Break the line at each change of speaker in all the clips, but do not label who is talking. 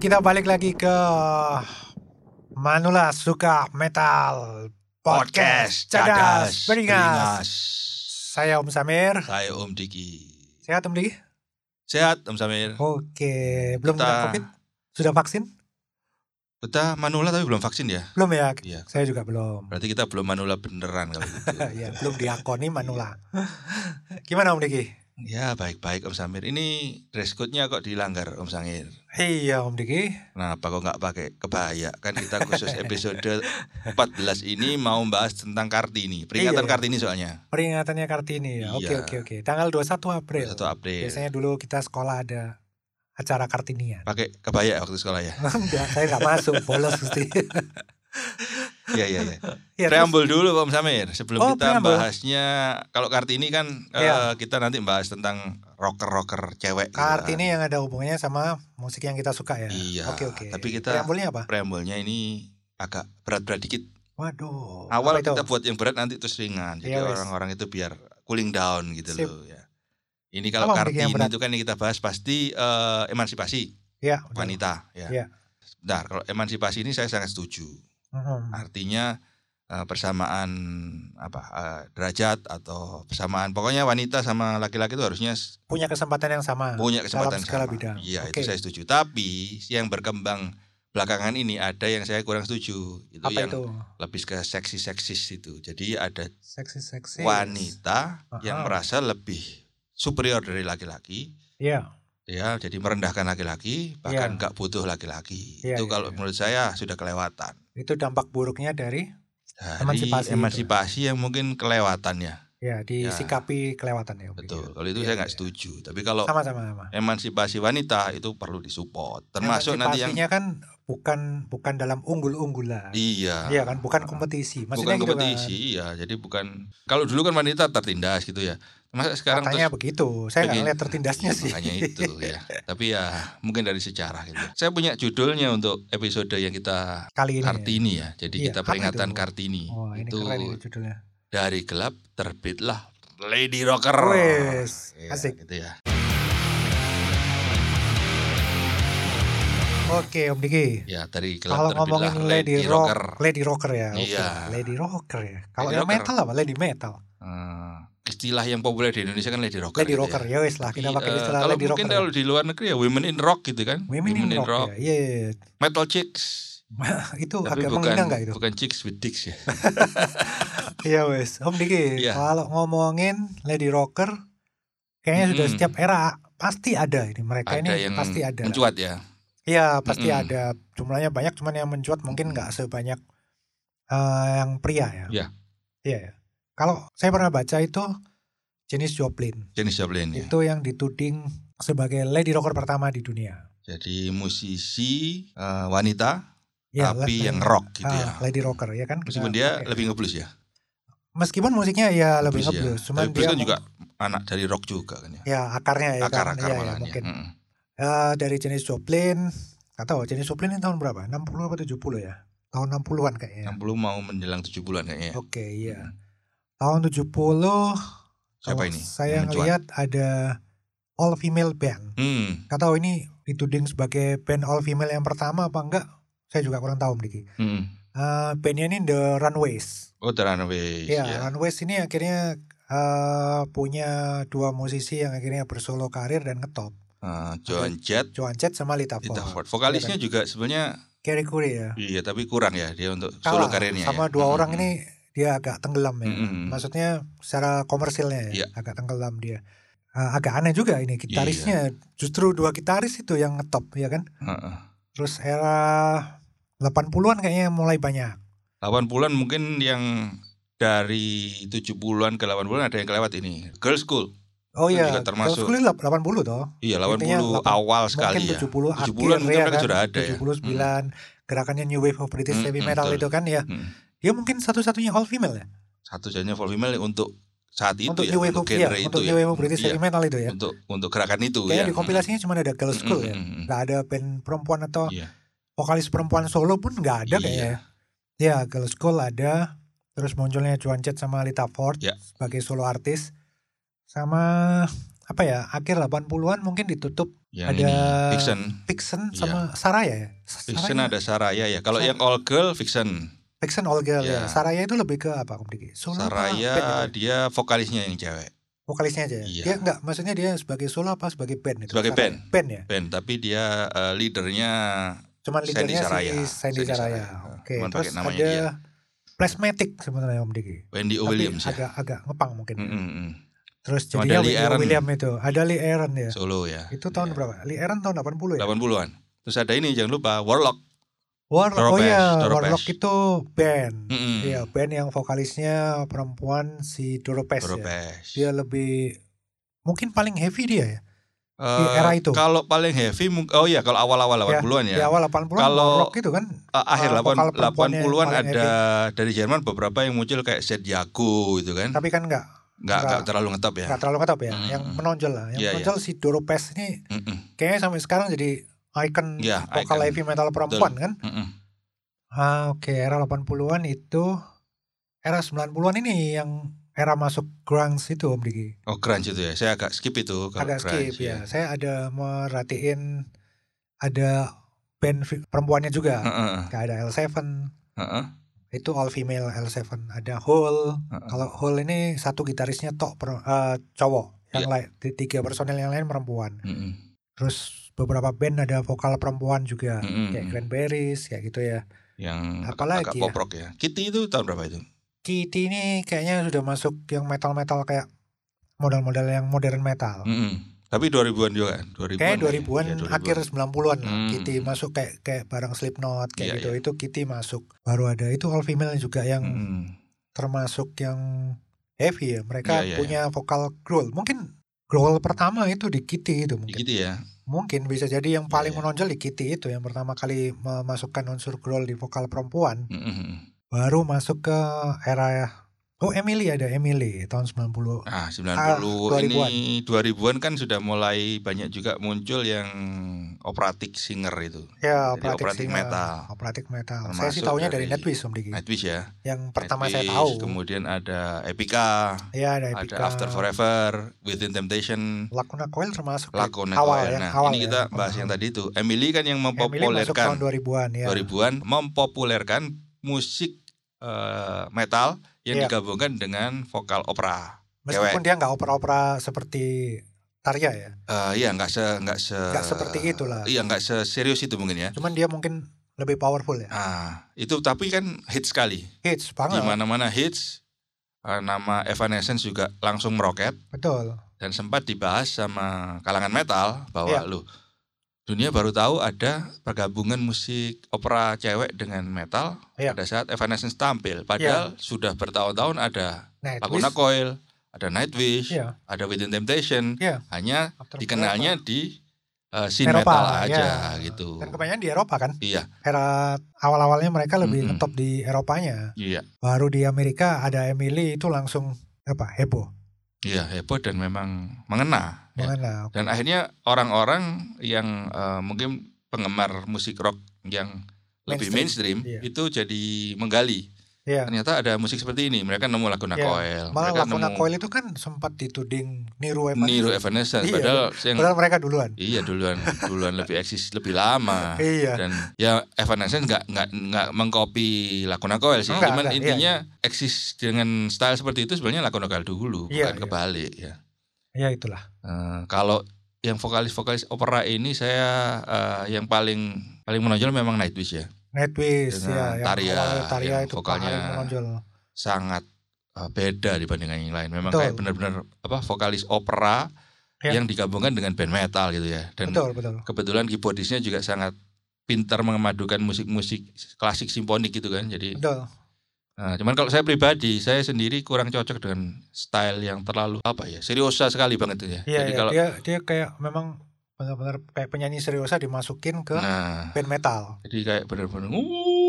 kita balik lagi ke Manula Suka Metal Podcast Cadas Beringas. Saya Om Samir.
Saya Om Diki.
Sehat Om Diki?
Sehat Om Samir.
Oke, belum kena
Betah.
COVID? Sudah vaksin?
Kita Manula tapi belum vaksin ya.
Belum ya?
Iya.
Saya juga belum.
Berarti kita belum Manula beneran kalau gitu.
ya, belum diakoni Manula. Gimana Om Diki?
ya baik-baik Om Samir. Ini dress code-nya kok dilanggar Om Samir.
Iya Om Diki.
Kenapa kok nggak pakai kebaya? Kan kita khusus episode 14 ini mau bahas tentang Kartini. Peringatan
Iya, iya.
Kartini soalnya.
Peringatannya Kartini ya. Oke
Iya.
oke oke. Tanggal 21 April.
1 April.
Biasanya dulu kita sekolah ada acara Kartinian.
Pakai kebaya waktu sekolah ya.
Enggak, saya nggak masuk bolos mesti.
Iya iya iya.
ya, terus-
Preambul dulu Om Samir sebelum
Oh,
kita
preambul.
bahasnya kalau Kartini kan eh,
Iya.
kita nanti bahas tentang rocker-rocker cewek. gitu kan.
Kartini yang ada hubungannya sama musik yang kita suka ya.
Iya,
Oke oke.
tapi kita-
Preambulnya apa?
preambulnya ini agak berat-berat dikit.
Waduh.
Awal
apa itu?
kita buat yang berat nanti terus ringan. Jadi
Iya, wes.
orang-orang itu biar cooling down gitu
Sip.
loh ya. Ini kalau
Apa topik
Kartini
yang berat?
itu kan yang kita bahas pasti eh, emansipasi
ya, udah.
wanita ya.
Iya.
Bentar, kalau emansipasi ini saya sangat setuju.
Mhm.
Ah. Artinya eh, persamaan apa eh, derajat atau persamaan pokoknya wanita sama laki-laki itu harusnya s-
Punya kesempatan yang sama.
punya kesempatan
dalam segala
sama.
bidang.
Iya, itu
Oke.
saya setuju. Tapi yang berkembang belakangan ini ada yang saya kurang setuju. Itu
apa
yang
itu?
lebih ke seksi-seksis itu. Jadi ada
Seksi seksi.
wanita
Aha.
yang merasa lebih superior dari laki-laki,
Iya.
ya, jadi merendahkan laki-laki,
Iya.
bahkan nggak butuh laki-laki.
Iya,
itu
iya, iya.
kalau menurut saya sudah kelewatan.
Itu dampak buruknya dari
Dari
Emansipasi
emansipasi,
itu.
yang mungkin kelewatannya.
ya disikapi kelewatan ya. Om Diki.
Betul. Kalau itu
Iya,
saya nggak
iya.
setuju. Tapi kalau
Sama sama sama.
emansipasi wanita itu perlu disupport. Termasuk nanti yang
Emansipasinya kan bukan bukan dalam unggul-unggulan.
iya.
Iya kan, bukan kompetisi. Maksudnya
bukan
gitu
kompetisi ya jadi bukan kalau dulu kan wanita tertindas gitu ya masa
kan.
sekarang
Katanya
terus-
begitu. Saya nggak
Begini.
ngeliat tertindasnya
Iya,
sih.
makanya itu ya tapi ya mungkin dari sejarah gitu saya punya judulnya untuk episode yang kita
Kali ini. ya.
Kartini ya jadi
Iya,
kita
apa
peringatan
itu?
Kartini
Wah, ini
itu
keren ini judulnya.
dari gelap terbitlah Lady Rocker
Wes,
Iya,
asik.
gitu ya
Oke, Om Diki.
ya dari gelap
Kalau
terbitlah
ngomongin
Lady,
Lady,
Rocker
Rock, Lady Rocker ya. oke.
Iya.
Lady Rocker ya. Kalau
Lady
yang
Rocker.
metal apa? Lady Metal.
Eh, istilah yang populer di Indonesia kan Lady Rocker
Lady
gitu
Rocker ya
ya.
wes lah kita
Tapi,
pakai
eh,
istilah
kalau
Lady
mungkin
Rocker.
kalau di luar negeri ya women in rock gitu kan
Women in Rock, ya. Iya, iya, iya.
metal chicks
itu
Tapi
agak
bukan,
menghina nggak itu?
bukan chicks with dicks ya.
Iya wes. Om Diki,
Iya.
kalau ngomongin Lady Rocker kayaknya sudah
Mm-mm.
setiap era pasti ada ini mereka
ada
ini
yang
pasti ada. lah.
mencuat ya.
Iya pasti
Mm-mm.
ada jumlahnya banyak cuman yang mencuat mungkin nggak sebanyak eh, yang pria ya.
Iya.
Iya. ya. Kalau saya pernah baca itu jenis Joplin
Janis Joplin ya.
itu yang dituding sebagai lady rocker pertama di dunia.
Jadi musisi eh, wanita
Iya,
tapi
lady-
yang rock gitu
ah,
ya.
Lady rocker ya kan.
Meskipun
Kita-
dia
oke.
lebih ngeblues ya.
meskipun musiknya ya lebih
Ngeblues ya.
ngeblues, cuman
Tapi blues
dia
kan
mau-
juga anak dari rock juga kan ya.
ya akarnya ya kan.
Akar-akar
Iya, iya,
malahan ya.
mungkin.
Mm-mm.
Eh, dari jenis Joplin nggak tahu jenis Joplin ini tahun berapa? 60 apa 70 ya? Tahun 60-an kayaknya.
60 mau menjelang 70-an kayaknya. ya.
Oke, Ya. iya. tahun 70
Siapa
kalau
ini?
Saya
Yang mencuat?
ngelihat ada all female band.
Hmm.
Gak tahu ini dituding sebagai band all female yang pertama apa enggak? Saya juga kurang tahu Diki.
hmm.
Eh bandnya ini The Runaways.
Oh, The Runaways.
Ya,
ya.
Runaways ini akhirnya eh, punya dua musisi yang akhirnya bersolo karir dan ngetop.
Eh, Joan Jett,
Joan Jett sama Lita
Ita
Ford.
Ford. Vokalisnya juga sebenarnya
Carrie Curry ya.
iya tapi kurang ya dia untuk solo
Kalah
karirnya.
sama
ya.
dua orang
Mm-mm.
ini dia agak tenggelam ya.
Mm-mm.
maksudnya secara komersilnya ya,
Iya.
agak tenggelam dia Eh, agak aneh juga ini gitarisnya
Iya.
justru dua gitaris itu yang ngetop ya kan
Heeh.
terus era 80-an kayaknya mulai banyak
80-an mungkin yang dari 70-an ke 80-an ada yang kelewat ini. Girl School.
oh
Itu
iya
juga
Girls'
termasuk.
School ini lap- 80 toh
Iya, 80
Intinya
awal
mungkin
sekali ya.
70 akhir
70-an
ya
mungkin mereka
kan?
sudah ada ya.
79 gerakannya new wave of British
Mm,
heavy
mm,
metal
betul.
itu kan ya
Mm.
dia mungkin satu-satunya all female ya
Satu-satunya full female untuk saat itu
untuk
ya,
new wave
untuk
of iya,
genre itu
untuk
ya.
new wave of British
Iya,
heavy metal itu ya
Untuk untuk gerakan itu
kayaknya
ya.
di kompilasinya cuma ada Girls' School ya
Mm, mm, mm.
nggak ada band perempuan atau
Iya.
vokalis perempuan solo pun nggak ada
Iya.
kayaknya ya. Ya, Girls School ada, terus munculnya Juan Chet sama Lita Ford
Ya.
sebagai solo artis. Sama apa ya akhir 80-an mungkin ditutup Ada-
Yang ini Vixen.
Vixen
Iya.
sama Saraya ya.
Vixen
Saraya-
ada Saraya ya. Kalau
Sar-
yang all girl Vixen.
Vixen all girl ya.
Iya.
Saraya itu lebih ke apa Om Diki? Solo apa
Saraya
band itu?
dia vokalisnya yang cewek.
vokalisnya aja. ya?
Iya.
Dia enggak maksudnya dia sebagai solo apa sebagai band itu?
Sebagai
Saraya.
band.
Band ya.
Band, tapi dia eh, leadernya
Cuman
Sandy
leadernya
Saraya.
si Sandy
Sandy
Saraya.
Saraya.
Oke.
Cuman pakai
Terus ada
namanya dia.
Plasmatic sebenarnya Om Diki.
Wendy O.
Tapi
Williams ya.
agak agak ngepang mungkin.
Mm, mm, mm.
Terus
Sama
jadinya
ada Lee
William,
Aaron.
William itu. Ada Lee Aaron ya.
Solo ya.
Itu tahun
Iya.
berapa? Lee Aaron tahun 80 ya?
80-an. Terus ada ini jangan lupa Warlock.
Warlock. Oh
Doropes,
iya,
Doropes.
Warlock itu band.
Mm, mm.
Iya, band yang vokalisnya perempuan si Doropes ya.
Doropes.
dia lebih mungkin paling heavy dia ya.
Eh,
di era itu.
Kalau paling heavy mung- oh iya kalau awal-awal 80-an
Di
ya.
awal 80-an
Kalau-
rock itu kan.
Eh, akhir
vokal
80
perempuannya yang
80-an
paling
ada dari Jerman beberapa yang muncul kayak Seth Jago gitu kan.
Tapi kan enggak
Nggak,
nggak-
nggak terlalu ngetop ya.
enggak terlalu ketop ya.
Mm,
Yang
mm.
menonjol lah. Yang
Iya,
menonjol si Doropes ini
Mm-mm,
kayaknya sampai sekarang jadi icon
Iya,
vokal
icon.
heavy metal perempuan kan.
mm-mm.
Ah, oke, era 80-an itu era 90-an ini yang era masuk grunge itu Om Diki.
Oh grunge itu ya. Saya agak skip itu kalau
Agak skip
grunge,
ya.
iya.
Saya ada merhatiin ada band fi- perempuannya juga.
Heeh,
Kayak ada L7,
heeh,
itu all female L7 ada Hole
Heeh.
kalau Hole ini satu gitarisnya tok per- eh, cowok yang
Iya.
lain di- tiga personel yang lain perempuan
mm-mm,
terus beberapa band ada vokal perempuan juga
mm-mm,
kayak
mm-mm.
Cranberries kayak gitu ya
Yang
Apalagi
agak
ya?
pop rock ya. Kitty itu tahun berapa itu?
Kitty E ini kayaknya sudah masuk yang metal-metal kayak modal-modal yang modern metal
Mm-mm. Tapi 2000-an juga kan?
Oh.
2000-an.
kayak
Hmm, ya?
2000-an
Iya, 2000-an.
akhir 90-an lah
Hmm.
Kitty masuk kayak kayak barang Slipknot kayak
Iya, Hmm.
gitu itu Kitty masuk baru ada itu all female juga yang
Mm-mm.
termasuk yang heavy ya. Mereka
Iya, iya,
punya vokal growl. Mungkin growl pertama itu di Kitty itu
Ya
mungkin.
Gitu ya.
Mungkin bisa jadi yang
Iya,
paling
iya.
menonjol di Kitty itu yang pertama kali memasukkan unsur growl di vokal perempuan.
Mm-mm.
Baru masuk ke era Oh Emily ada Emily tahun 90
Ah, 90
2000-an.
ini 2000-an kan sudah mulai banyak juga muncul yang operatik singer itu.
ya
Jadi operatic
singer,
metal.
operatic metal saya sih
Termasuk
taunya dari,
dari
Netwish Om Diki
Nightwish ya.
yang pertama saya
Nightwish,
tahu
Kemudian ada Epica,
ya ada
ada
Epica
After Forever, Within Temptation,
Lakuna Coil termasuk di
Lakone
awal
Coil.
yang
Nah,
awal
ini
ya.
kita bahas yang tadi itu. Emily kan yang
Emily masuk tahun
mempopulerkan
2000-an ya
2000-an mempopulerkan musik eh, metal yang
Iya.
digabungkan dengan vokal opera.
Meskipun dia nggak opera-opera seperti Tarya ya,
Eh iya, nggak se nggak se
nggak seperti itulah.
Iya, nggak seserius itu mungkin ya.
Cuman dia mungkin lebih powerful ya.
Ah, itu tapi kan hits sekali.
Hits
Di
banget,
mana-mana hits. Eh, nama Evanescence juga langsung meroket.
betul.
dan sempat dibahas sama kalangan metal bahwa
Iya.
lu dunia baru tahu ada pergabungan musik opera cewek dengan metal
Iya.
pada saat Evanescence
Ya.
tampil padahal sudah bertahun-tahun ada
Nah,
Laguna Coil ada Nightwish
Iya.
ada Within Temptation
Iya.
hanya
After
dikenalnya di eh, scene
Eropa,
metal
iya.
aja
Forever.
gitu
Dan kebanyakan di Eropa kan,
iya
era awal-awalnya mereka lebih
Mm-mm.
ngetop di Eropanya.
iya
Baru di Amerika ada Emily itu langsung apa heboh,
iya heboh dan memang mengena ya.
mengenal.
dan akhirnya orang-orang yang eh, mungkin penggemar musik rock yang lebih
Mainstream.
mainstream
Iya.
itu jadi menggali
Iya.
ternyata ada musik seperti ini mereka nemu Laguna
Iya.
Coil Kan mereka
Malah Laguna
nemu
Coil itu kan sempat dituding niru
Niro
Evanescence.
Evanescence
Iya.
padahal yang
Padahal mereka duluan.
iya duluan duluan lebih eksis lebih lama
Iya.
dan ya Evanescence nggak nggak nggak mengcopy Laguna Coil sih
Nggak,
cuman
nggak, iya,
intinya eksis dengan style seperti itu sebenarnya Laguna Coil dulu
Iya,
bukan
iya.
kebalik ya
Ya itulah.
Eh, kalau yang vokalis-vokalis opera ini saya eh, yang paling paling menonjol memang Nightwish ya.
Netwish
Dengan
ya, yang
Tarya,
awalnya Tarya
yang
itu
vokalnya
paling menonjol.
Sangat eh, beda dibandingkan yang lain. Memang
Betul.
kayak benar-benar apa vokalis opera
Ya.
yang digabungkan dengan band metal gitu ya. Dan
Betul, betul.
kebetulan keyboardisnya juga sangat pintar memadukan musik-musik klasik simfonik gitu kan. Jadi
Betul.
eh, cuman kalau saya pribadi, saya sendiri kurang cocok dengan style yang terlalu apa ya, seriosa sekali banget itu ya.
Iya,
Jadi
iya.
kalau
dia dia kayak memang benar-benar kayak penyanyi seriusa dimasukin ke
nah
band metal.
Jadi kayak bener-bener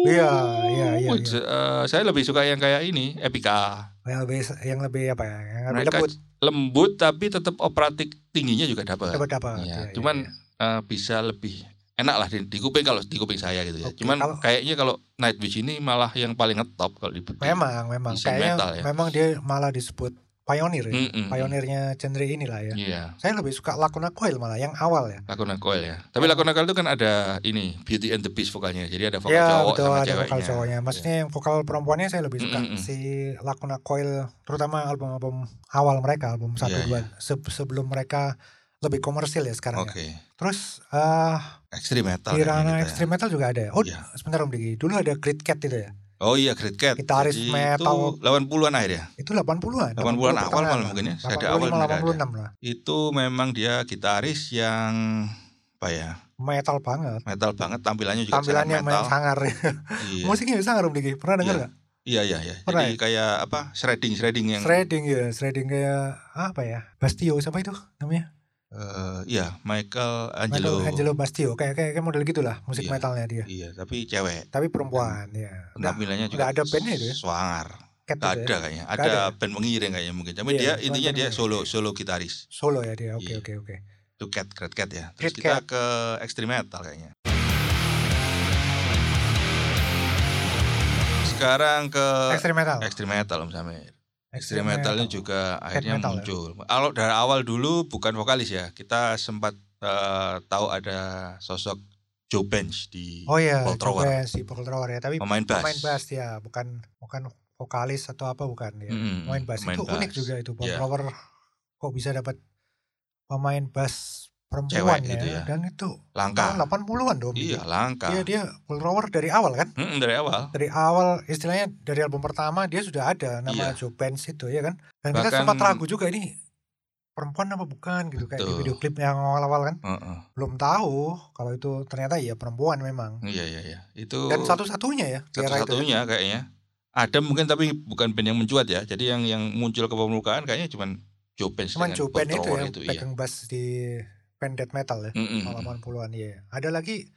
Iya, iya, iya,
"Wuh." Se- eh, Saya lebih suka yang kayak ini Epica
Yang lebih yang lebih apa ya? Yang lebih
Mereka
lembut
Lembut tapi tetap operatik tingginya juga dapat
dapat dapat.
Iya,
Iya, iya,
Cuman
iya.
eh, bisa lebih enak lah di, di kuping kalau di kuping saya gitu ya
Oke,
Cuman
kalau-
kayaknya kalau Nightwish ini malah yang paling ngetop kalau di di-
memang memang
desain
kayaknya
metal ya.
memang dia malah disebut pionir ya.
Mm-mm.
Pionirnya genre inilah ya.
Iya,
Saya lebih suka Lacuna Coil malah yang awal ya.
Lacuna Coil ya. Tapi Lacuna Coil itu kan ada ini Beauty and the Beast vokalnya. Jadi ada vokal
ya
cowok
betul
sama
ada
ceweknya. Iya.
vokal cowoknya. Maksudnya yang vokal perempuannya saya lebih suka
Mm-mm.
si Lacuna Coil terutama album-album awal mereka album
Iya,
1 dua se- sebelum mereka lebih komersil ya
Oke.
sekarang ya. Terus eh
Extreme metal.
di
kayaknya
ranah
kita ya.
extreme metal juga ada ya. Oh,
Iya.
sebentar Om Diki. Dulu ada Great Cat itu ya.
Oh iya, Great Cat.
Gitaris
Jadi
metal.
Itu 80-an akhir ya.
Itu 80-an.
80-an awal
pertengahan
malah
lah.
mungkin ya. Saya ada awal
85
mereka ada.
86 lah.
Itu memang dia gitaris yang apa ya?
Metal banget.
Metal banget, tampilannya juga
Tampilannya
sangat
memang
metal.
sangar.
Iya.
Musiknya sangar Om Diki. Pernah dengar
Iya.
nggak?
Iya iya iya.
Pernah
Jadi kayak apa? Shredding shredding yang
Shredding ya, shredding kayak apa ya? Bastio siapa itu namanya?
eh, iya, Michael Angelo.
Michael Angelo Bastio. Kayak kayak, kayak model gitulah musik
Iya.
metalnya dia.
Iya, tapi cewek.
Tapi perempuan ya. Nah,
Tampilannya
nggak
juga
ada bandnya itu ya?
Swangar.
Cat
Gak
itu
ada kan?
ya.
kayaknya.
Nggak
Ada,
ada
band pengiring kayaknya mungkin. Tapi
Iya,
dia
cuman
intinya
band
dia
pengiring.
solo solo gitaris.
Solo ya dia. Oke
Iya.
oke oke.
Itu Cat, Great Cat ya. Terus
Great
kita ke extreme metal kayaknya. Sekarang ke
Extreme metal.
extreme metal Om Samir. Eh, Extreme metalnya juga akhirnya
metal ya?
muncul. Kalau dari awal dulu bukan vokalis ya. Kita sempat eh, tahu ada sosok Joe Bench di
Oh iya,
Paul Trower.
coba si Paul Trower ya. Tapi
pemain bass.
pemain bass ya, bukan bukan vokalis atau apa bukan ya.
Mm-mm,
Pemain bass itu
bass.
unik juga ya? itu Paul
Iya.
Trower kok bisa dapat pemain bass perempuan
Cewek
ya.
gitu ya.
Dan itu
Langka.
tahun 80-an dong.
Iya, langka.
Dia dia Paul Trower dari awal kan?
Mm-mm, dari awal.
Dari awal istilahnya dari album pertama dia sudah ada nama
Iya.
Joe Benz itu ya kan. Dan kita
Bahkan-
sempat ragu juga ini perempuan apa bukan gitu kayak di
Betul.
video klip yang awal-awal kan
Heeh.
belum tahu kalau itu ternyata ya perempuan memang.
Iya, iya, iya. Itu
Dan satu-satunya ya di era itu ya.
satu-satunya kayaknya. Ada mungkin tapi bukan band yang mencuat ya. Jadi yang yang muncul ke permukaan kayaknya cuman Joe Bench
Cuman
dengan
Joe
Paul
Penn itu
Trower
ya
itu, iya.
pegang bass di band death metal ya
Mm-mm.
tahun 80-an ya. Ada lagi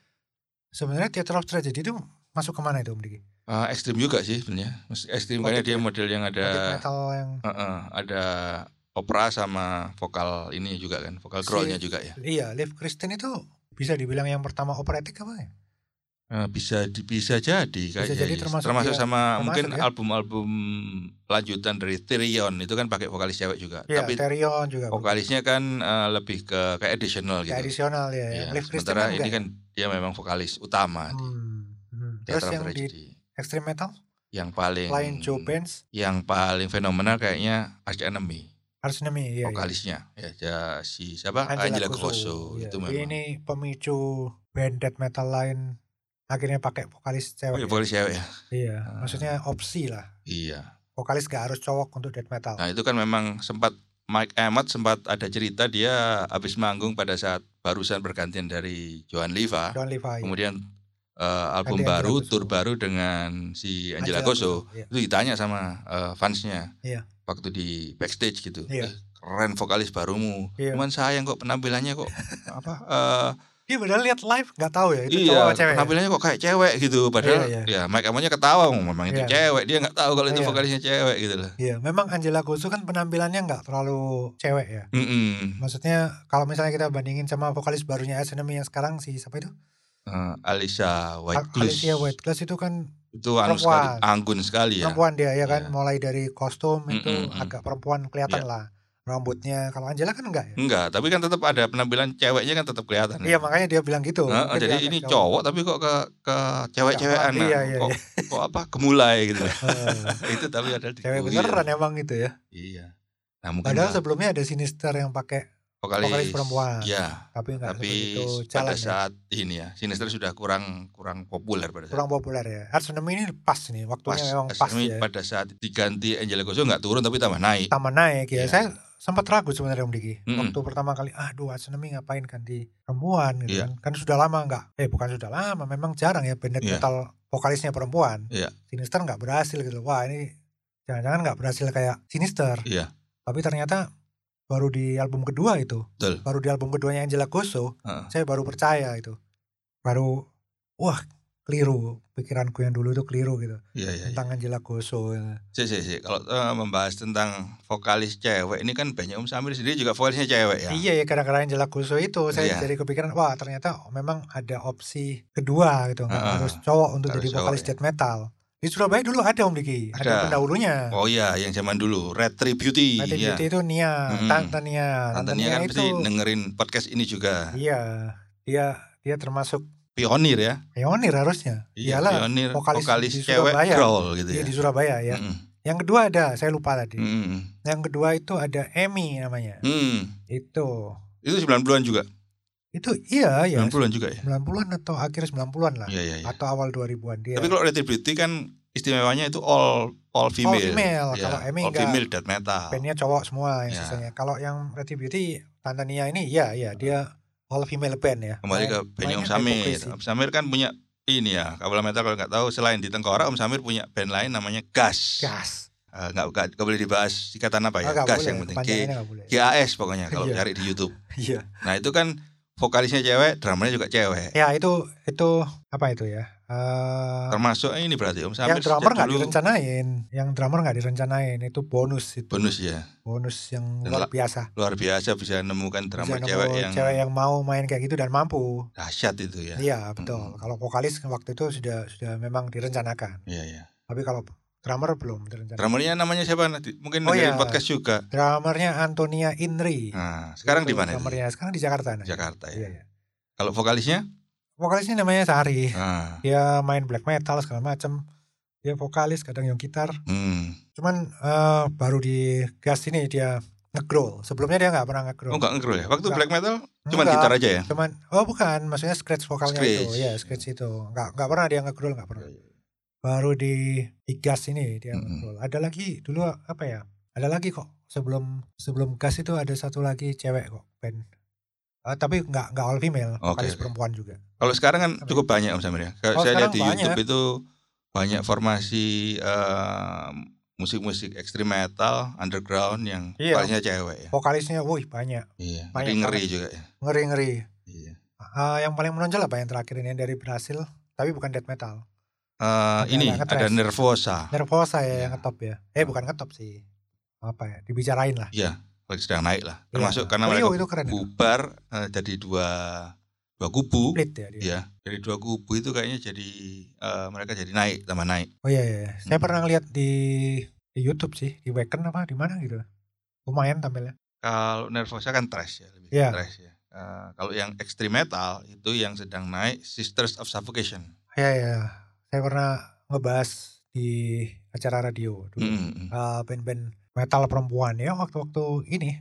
sebenarnya Theater of Tragedy itu masuk kemana itu Om Diki?
Ah, ekstrim juga sih sebenarnya. Mas- Ekstrim
Oh,
karena
gitu
dia
ya.
model yang ada
Death metal yang
Heeh, ada opera sama vokal ini juga kan, vokal
Si-
growlnya juga ya.
iya Live Christian itu bisa dibilang yang pertama operatik apa ya?
Eh, bisa di- bisa jadi kayaknya.
jadi
ya.
termasuk dia- termasuk
sama mungkin
ya.
album-album lanjutan dari Tyrion itu kan pakai vokalis cewek juga.
Iya,
Tapi
Therion juga.
vokalisnya kan eh, lebih ke kayak additional gitu.
Kayak Addisional ya.
Iya,
Live Christian
sementara
enggak
ini
ya?
kan dia memang vokalis utama di
Hmm, hmm. Terus
Theater of
yang di
Tragedy.
Extreme Metal
yang paling
lain Joe Benz,
yang paling fenomenal kayaknya Arch Enemy
Arch Enemy ya. ya.
vokalisnya ya, ya, si siapa Angela, Cosso
Iya, jadi
itu memang
Ini pemicu band death metal lain akhirnya pakai vokalis cewek.
oh, iya,
ya?
vokalis cewek ya
Iya,
Ah.
maksudnya opsi lah.
iya
Vokalis gak harus cowok untuk death metal.
nah itu kan memang sempat Mike Emmett sempat ada cerita dia habis manggung pada saat barusan bergantian dari Joan Liva
Don Levi.
kemudian eh, album
Ganti Angela
baru
Cosso.
tur baru dengan si
Angela
Angela, Cosso
Cosso, iya.
itu ditanya sama eh, fansnya
Iya.
waktu di backstage gitu
Iya.
"Eh, keren vokalis barumu
Iya.
cuman sayang kok penampilannya kok apa eh,
Dia benar lihat live nggak tahu ya itu cowok
iya
apa cewek. ya?
penampilannya kok kayak cewek gitu padahal
Iya,
ya Mike Emmett-nya ketawa memang itu
Iya.
cewek dia nggak tahu kalau itu
Iya.
vokalisnya cewek gitu loh
Iya, memang Angela Gosu kan penampilannya nggak terlalu cewek ya.
Mm-mm.
Maksudnya kalau misalnya kita bandingin sama vokalis barunya Enemy yang sekarang si siapa itu?
Eh, Alisa
Al-
Whitecliffe
Alicia Whiteclass itu kan
itu anu
Perempuan.
sekali, anggun sekali ya
perempuan dia ya kan,
Iya.
mulai dari kostum itu
Mm-mm-mm. Iya.
agak perempuan kelihatan lah rambutnya. Kalau Angela kan enggak ya?
enggak tapi kan tetap ada penampilan ceweknya kan tetap kelihatan
Iya makanya dia bilang gitu.
Heeh,
Mungkin
jadi
dia agak
ini cowok tapi kok ke ke cewek-cewekan
Iya, iya,
kok,
iya.
kok apa gemulai gitu
Eh,
itu tapi ada di
Cewek
oh, iya,
beneran emang gitu ya.
iya nah mungkin
Padahal
lah,
sebelumnya ada sinister yang pakai
vokalis,
vokalis perempuan.
ya
tapi enggak
tapi
begitu
pada
jalan ya.
saat ini ya sinister sudah kurang kurang populer pada saat
Kurang populer ya. Arsenal ini pas nih waktunya memang pas
Asmi
ya.
pada saat diganti Angela Gozo nggak turun tapi tambah naik
Taman naik ya.
Iya.
Saya sempat ragu sebenarnya Om Diki.
Mm-mm.
Waktu pertama kali, aduh Arsenal ngapain ganti perempuan gitu
Iya.
kan. Kan sudah lama enggak. Eh bukan sudah lama, memang jarang ya band
Iya.
metal vokalisnya perempuan.
Iya.
Sinister nggak berhasil gitu. Wah ini jangan-jangan nggak berhasil kayak Sinister.
Iya.
Tapi ternyata baru di album kedua itu,
Betul.
baru di album keduanya Angela Gosso,
Heeh.
saya baru percaya itu. Baru wah keliru pikiranku yang dulu itu keliru gitu
iya iya iya
tentang Angela Gosso.
Si, si, si. kalau eh, membahas tentang vokalis cewek ini kan banyak Om Samir sendiri juga vokalisnya cewek ya
Iya ya kadang-kadang Angela Gosso itu saya
Iya.
jadi kepikiran wah ternyata memang ada opsi kedua gitu nggak
Ah,
harus cowok untuk
harus
jadi
cowok
vokalis
ya.
death metal. Di Surabaya dulu ada Om Diki, ada,
Ada.
pendahulunya.
Oh iya, yang zaman dulu Retributi.
Latin Beauty
ya.
Nah, itu Nia,
Mm-mm.
Tante Nia.
Tante Nia kan pasti dengerin podcast ini juga.
Iya, dia dia termasuk
Pionir ya.
pionir harusnya.
Iya,
Iyalah,
pionir
vokalis
vokalis,
di
cewek
Surabaya.
growl gitu
dia
ya.
di Surabaya ya.
Mm-mm.
Yang kedua ada, saya lupa tadi.
Mm-mm.
Yang kedua itu ada Emmy namanya.
Mm.
Itu.
Itu 90-an juga.
Itu iya ya.
90-an juga ya.
90-an atau akhir 90-an lah
Iya, iya, iya.
atau awal 2000-an dia.
Tapi kalau Retributi kan istimewanya itu all all female.
All Oh, female.
Ya,
Kalau Emmy
all
enggak.
female death metal.
bandnya cowok semua yang
Ya.
sisanya. Kalau yang Pretty Beauty Tante Nia ini ya ya dia all female band ya.
Kembali ke
Main-
bandnya Om
mainnya
Samir.
hypocrisy.
Om Samir kan punya ini ya, kabel metal kalau nggak tahu selain di Tengkorak Om Samir punya band lain namanya Gas.
Gas.
Eh, nggak nggak nggak boleh dibahas ikatan apa ya?
Ah, nggak
Gas
boleh,
yang penting. G-
panjangannya nggak boleh.
GAS pokoknya kalau
Iya.
cari di YouTube.
Iya.
Nah, itu kan vokalisnya cewek, drummernya juga cewek.
Ya itu itu apa itu ya? Eh
Termasuk ini berarti Om Samir
yang drummer
sejak
nggak
dulu
direncanain, yang drummer nggak direncanain itu bonus itu.
bonus ya.
Bonus yang
Dan
luar
la-
biasa.
Luar biasa bisa nemukan
Iya,
drummer
Bisa nemu
cewek yang
cewek yang mau main kayak gitu dan mampu.
dahsyat itu ya.
Iya betul.
Mm.
Kalau vokalis waktu itu sudah sudah memang direncanakan.
Iya, iya.
Tapi kalau drummer belum direncanakan.
Drummernya namanya siapa nanti? Mungkin
Oh, iya.
dengerin podcast juga.
Drummernya Antonia Inri.
Nah, sekarang di
Itu
mana? dia?
Drummernya sekarang di Jakarta. Nah.
Jakarta
Iya,
ya.
iya.
Kalau vokalisnya?
Vokalisnya namanya Sari.
Ah,
Dia main black metal segala macam. Dia vokalis kadang yang gitar.
hmm.
Cuman eh, baru di gas ini dia ngegrowl. Sebelumnya dia nggak pernah ngegrowl.
Oh enggak ngegrol ya? Waktu
Enggak.
black metal cuman
Enggak.
gitar aja ya?
Cuman oh bukan, maksudnya scratch vokalnya itu.
Scratch.
Ya, scratch itu. Nggak nggak pernah dia ngegrowl, nggak pernah. Baru di di gas ini dia
Mm-mm.
ngegrowl. Ada lagi dulu apa ya? Ada lagi kok. Sebelum sebelum gas itu ada satu lagi cewek kok band. Eh, tapi nggak nggak all female,
Oke,
vokalis
oke.
perempuan juga.
Kalau sekarang kan
Apa
cukup banyak Om Samir ya. Kalau
Oh,
saya
sekarang
lihat di
banyak.
YouTube itu banyak formasi eh, musik-musik ekstrim metal underground yang
Iya.
vokalisnya cewek ya.
Vokalisnya, wih banyak,
Iya.
Banyak
Ngeri juga ya.
ngeri ngeri. Eh,
Iya.
yang paling menonjol apa yang terakhir ini yang dari Brasil, tapi bukan death metal.
Eh, ini
nggak
ada
ngetres.
Nervosa
Nervosa ya yang
Iya.
ngetop ya. Eh bukan ngetop sih, apa ya? Dibicarain lah.
lagi sedang naik lah.
Iya.
Termasuk karena
Oh, iya,
mereka
itu keren. itu.
bubar eh, jadi dua dua kubu.
Split ya dia.
Iya, dari dua kubu itu kayaknya jadi eh, mereka jadi naik, tambah naik.
Oh iya iya. iya. Saya
Mm.
pernah ngeliat di di YouTube sih, di Wacken apa di mana gitu. Lumayan tampilnya.
Kalau Nervosa kan trash ya, lebih ke
Iya.
thrash ya. Eh, kalau yang extreme metal itu yang sedang naik Sisters of Suffocation.
Iya iya. Saya pernah ngebahas di acara radio dulu.
Mm-mm.
Eh, band-band metal perempuan ya waktu-waktu ini.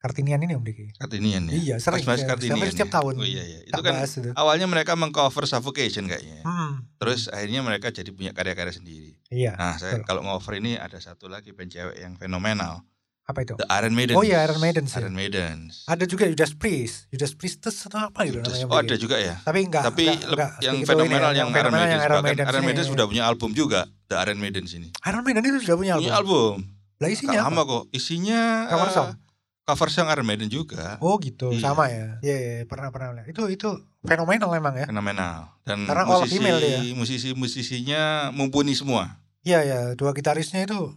Kartinian ini Om Diki.
Kartinian ya.
Iya, sering
Mas-mas
saya-
Kartinian
hampir setiap
ya?
tahun.
Oh iya iya. Itu
Tak
kan
bahas itu.
awalnya mereka mengcover Suffocation kayaknya.
Hmm.
Terus akhirnya mereka jadi punya karya-karya sendiri.
Iya.
Nah, saya
Betul.
kalau ngover ini ada satu lagi band cewek yang fenomenal,
Apa itu?
The Iron Maiden.
Oh iya, Iron Maidens ya.
Iron Maidens.
Ada juga Judas Priest, Judas Priestess atau apa gitu
Terus-
namanya.
oh
begitu.
ada juga ya.
Tapi enggak
Tapi
enggak-
leb-
enggak
yang
segitu ini
fenomenal
ya,
yang Iron
fenomenal
Maiden
yang Iron Maiden.
bahkan Iron Maiden
sini.
sudah punya album juga The Iron Maiden sini.
Iron Maiden itu sudah punya
Punya
album.
album.
Lah
Gak
isinya
lama
apa?
kok. Isinya
Cover
eh,
song.
cover song Iron Maiden juga.
Oh gitu,
Iya.
sama ya. Iya, iya, iya, pernah pernah lihat. Itu itu fenomenal emang ya.
Fenomenal. Dan
Karena all
musisi,
female dia.
musisi-musisinya mumpuni semua.
Iya ya, dua gitarisnya itu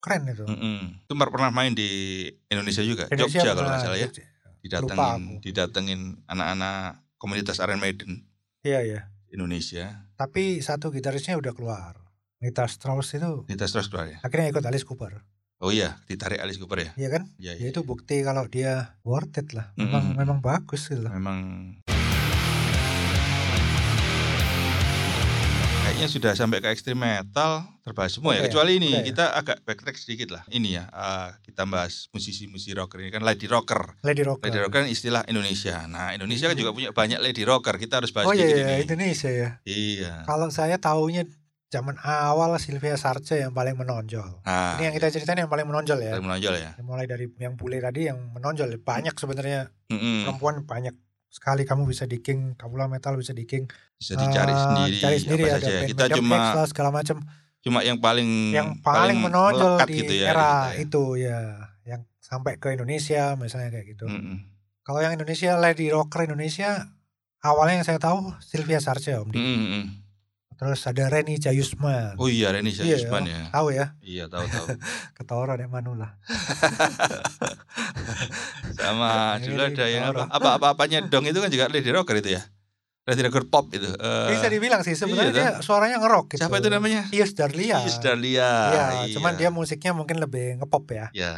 keren itu.
Mm-mm. Itu mer- pernah main di Indonesia juga.
Indonesia
Hmm, Jogja kalau
pernah-
nggak salah ya.
Jogja. Lupa
Didatengin,
aku.
didatengin anak-anak komunitas Iron Maiden
Iya iya.
Indonesia.
Tapi satu gitarisnya udah keluar. Nita Strauss itu
Kita terus keluar ya.
akhirnya ikut Alice Cooper.
Oh iya, ditarik Alice Cooper ya.
Iya kan? Ya
Iya, iya. Hmm,
itu bukti kalau dia worth it lah. Memang
Mm-mm.
memang bagus gitu lah.
Memang kayaknya sudah sampai ke ekstrim metal terbahas semua
Udah ya,
ya kecuali ini
udah ya.
kita agak backtrack sedikit lah ini ya eh, kita bahas musisi-musisi rocker ini kan lady rocker
Lady Rocker.
lady rocker kan istilah Indonesia nah Indonesia kan juga punya banyak lady rocker kita harus bahas
Oh iya,
sedikit
iya,
ini
Indonesia ya.
iya
Kalau saya taunya zaman awal Sylvia Sarce yang paling menonjol.
nah
Ini yang kita ceritain yang paling menonjol ya.
kita menonjol ya
Yang Mulai dari yang bule tadi yang menonjol banyak sebenarnya
Mm-mm.
perempuan banyak sekali kamu bisa di King, Kabula Metal bisa di King.
bisa dicari
Ah,
sendiri,
dicari sendiri
apa
ada
saja
band
kita
Madam
cuma
X lah, segala macam.
cuma yang paling
yang paling, menonjol
melekat
di
gitu ya,
era
di kita
itu ya, yang sampai ke Indonesia misalnya kayak gitu.
ya. Mm-mm.
Kalau yang Indonesia Lady Rocker Indonesia awalnya yang saya tahu Sylvia Sarce Om Dik.
Mm-mm.
Terus ada Reni Jayusman.
Hmm. oh iya Reni
Iya,
Sajusman ya
Tahu ya,
iya tahu tahu
ketoran ya Manula.
sama dulu
Ini
ada yang apa
orang. Iya,
apa apa apanya dong itu kan juga lady rocker itu ya Red Record Pop itu. Eh,
Bisa dibilang sih sebenarnya
iya,
dia suaranya ngerok gitu.
siapa itu namanya?
Ius Dahlia.
Is Dahlia.
Iya,
Iya.
cuman dia musiknya mungkin lebih ngepop ya.
Ya.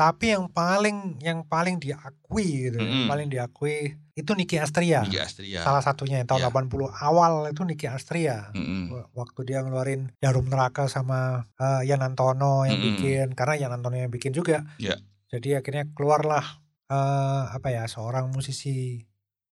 Tapi yang paling yang paling diakui gitu, yang
Mm-mm.
paling diakui itu Nicky Astria.
Nicky
Iya.
Astria.
Salah satunya yang tahun
Iya. Mm.
80 awal itu Nicky Astria.
Mm-mm.
W- Waktu dia ngeluarin Jarum Neraka sama eh, Yan Antono yang
Mm-mm.
bikin karena Yan Antono yang bikin juga.
Iya.
Jadi akhirnya keluarlah eh, apa ya seorang musisi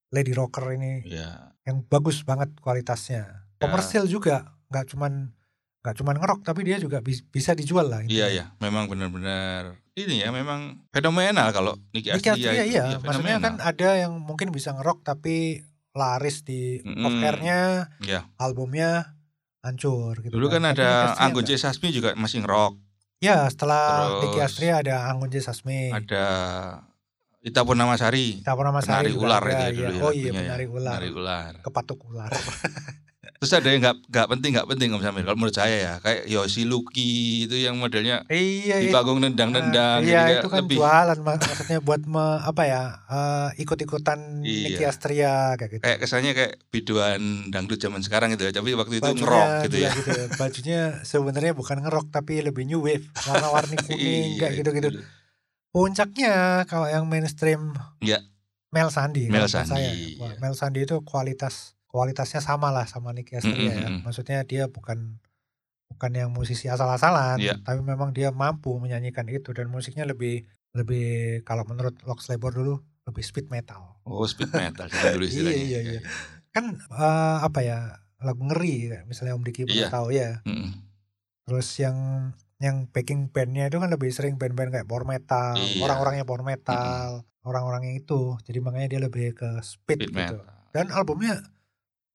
lady rocker ini
Ya.
yang bagus banget kualitasnya.
Iya.
Komersil juga, nggak cuman nggak cuman ngerok tapi dia juga bis- bisa dijual lah. intinya.
Iya ya, memang benar-benar ini ya memang fenomenal kalau Nicky
Nicky
Astria.
Astria
itu.
iya,
Iya,
maksudnya
fenomenal.
kan ada yang mungkin bisa ngerok tapi laris di
Mm-mm.
off airnya,
Iya.
albumnya hancur gitu.
Dulu kan
Tapi Nicky
ada
Astria
Anggun
nggak.
C Sasmi juga masih ngerok.
Ya setelah Nicky
Terus
Astria ada Anggun J Sasmi,
Ada Ita Purnamasari.
Kita pernah
Penari ular itu ya dulu ya
Oh iya
lagunya ya.
penari ular,
Penari ular.
kepatuk ular.
Terus ada yang nggak nggak penting nggak penting Om Samir. Kalau menurut saya ya kayak Yoshi Luki itu yang modelnya
iya itu
di panggung
Ah,
nendang-nendang. jadi
iya
kayak
itu kan
lebih
jualan mak- maksudnya buat me- apa ya eh, ikut-ikutan Nicky
Iya.
Astria kayak gitu.
kayak kesannya kayak biduan dangdut zaman sekarang gitu ya. Tapi waktu itu
Bajunya
ngerok gitu
juga
ya.
gitu ya. Bajunya sebenarnya bukan ngerok tapi lebih new wave, warna-warni kuning kayak
Iya,
gitu-gitu.
itu.
Puncaknya kalau yang mainstream
Iya.
Mel Sandi.
Mel
kalau menurut
Sandi,
saya.
iya.
Wah, Mel Sandi itu kualitas kualitasnya sama lah sama Nicky Astria
Mm-mm,
ya.
mm-mm.
Maksudnya dia bukan bukan yang musisi asal-asalan,
Iya.
tapi memang dia mampu menyanyikan itu dan musiknya lebih lebih kalau menurut Lox Labor dulu lebih speed metal.
Oh speed metal zaman dulu
Iya,
istilahnya.
iya, iya. Kan eh, apa ya? lagu ngeri kayak misalnya Om Diki pernah
Iya.
tahu ya.
Mm-mm.
Terus yang yang backing bandnya itu kan lebih sering band-band kayak power metal,
Iya.
orang-orangnya power metal, orang-orang yang itu. Jadi makanya dia lebih ke speed,
Speed
gitu.
metal.
Dan albumnya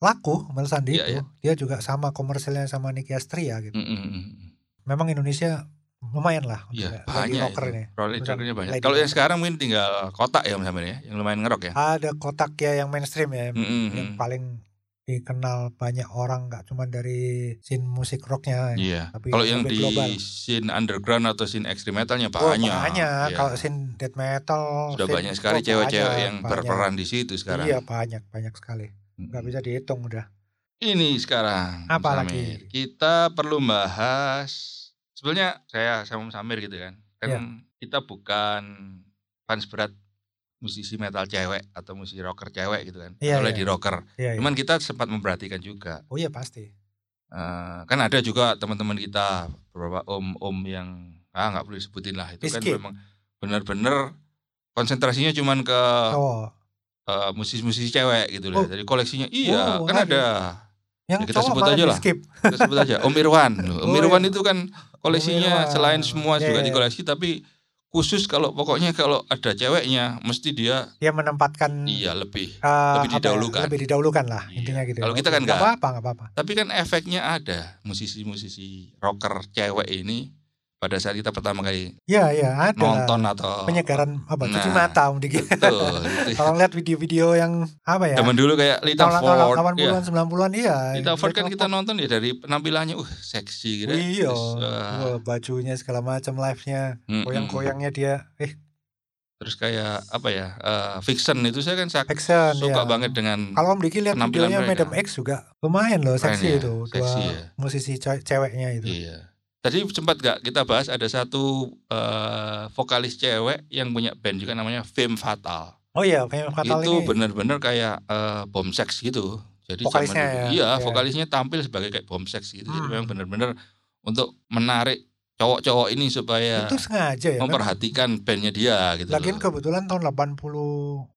laku Mel Sandi
Iya, Mm.
itu. Dia juga sama komersilnya sama Nicky Astria gitu.
Mm-mm.
Memang Indonesia lumayan lah untuk kayak
Iya
lady
banyak.
rocker ini.
itu. Rolling
Bukan
Rockernya banyak.
lady
Kalau yang
rocker.
sekarang mungkin tinggal kotak ya Om Samir ya, yang lumayan ngerok ya.
Ada kotak ya yang mainstream ya,
Mm-mm.
yang paling dikenal banyak orang nggak cuma dari scene musik rocknya
Iya.
tapi
Kalau yang
lebih
di
global.
scene underground atau scene ekstrim metalnya
Oh,
banyak. Iya.
Kalau scene death metal
sudah
scene
banyak sekali
rock
cewek-cewek
banyak,
yang
banyak.
berperan di situ sekarang.
Iya banyak banyak sekali. Gak bisa dihitung udah.
Ini sekarang. Om
Apa
Samir.
lagi?
Kita perlu bahas sebenarnya saya sama Om Samir gitu kan. Kan
Iya.
kita bukan fans berat musisi metal cewek atau musisi rocker cewek gitu kan.
Iya, iya.
Atau lady rocker.
Iya. iya.
Cuman kita sempat memperhatikan juga
oh iya pasti.
Eh, kan ada juga teman-teman kita beberapa om-om yang ah nggak perlu disebutin lah itu
Rizky.
kan memang benar-benar konsentrasinya cuman ke
Cowok.
eh, musisi-musisi cewek gitu
Oh.
loh dari koleksinya
Oh,
iya
ada.
kan ada
Yang
Ya, kita
cowok
sebut
malah
aja
di
lah.
skip.
kita sebut aja Om Irwan Om
Oh,
Irwan
iya.
itu kan koleksinya
Irwan.
selain semua
Iya,
juga
iya.
dikoleksi tapi khusus kalau pokoknya kalau ada ceweknya mesti dia
Dia menempatkan.
iya lebih
eh, apa ya,
didahulukan.
lebih didahulukan lah
Iya.
intinya gitu.
Kalau kita kan
nggak
nggak.
apa-apa nggak apa-apa.
Tapi kan efeknya ada musisi-musisi rocker cewek ini pada saat kita pertama kali
Iya iya ada. lah.
nonton atau
Penyegaran apa? Cuci
Nah.
mata om Diki.
betul gitu.
Kalau lihat video-video yang apa ya?
Zaman dulu kayak Lita Ford,
tahun
ya.
80-an 90-an iya.
Lita Ford kan
Mereka
kita nonton ya dari penampilannya, uh seksi gitu.
Iya,
Terus, eh,
Wah, bajunya segala macam live-nya,
mm, mm.
goyang-goyangnya dia, eh
Terus kayak apa ya, eh, Fiction itu saya kan sak-
action ya.
suka banget dengan
Kalau Om Diki lihat
penampilan
videonya
mereka.
Madam X juga lumayan loh,
Keren
seksi
ya,
itu, dua
seksi ya.
musisi ce- ceweknya itu.
Iya. Tadi sempat gak kita bahas ada satu eh, vokalis cewek yang punya band juga namanya Femme Fatal.
Oh iya, Femme Fatal
itu
ini
benar-benar kayak eh, bom seks gitu. Jadi zaman
Vokalisnya
dulu-
ya?
iya,
Iya.
vokalisnya tampil sebagai kayak bom seks gitu. Jadi
Hmm.
memang benar-benar untuk menarik cowok-cowok ini supaya
itu sengaja ya. Memang.
memperhatikan bandnya dia gitu.
Lagian
loh.
kebetulan tahun 80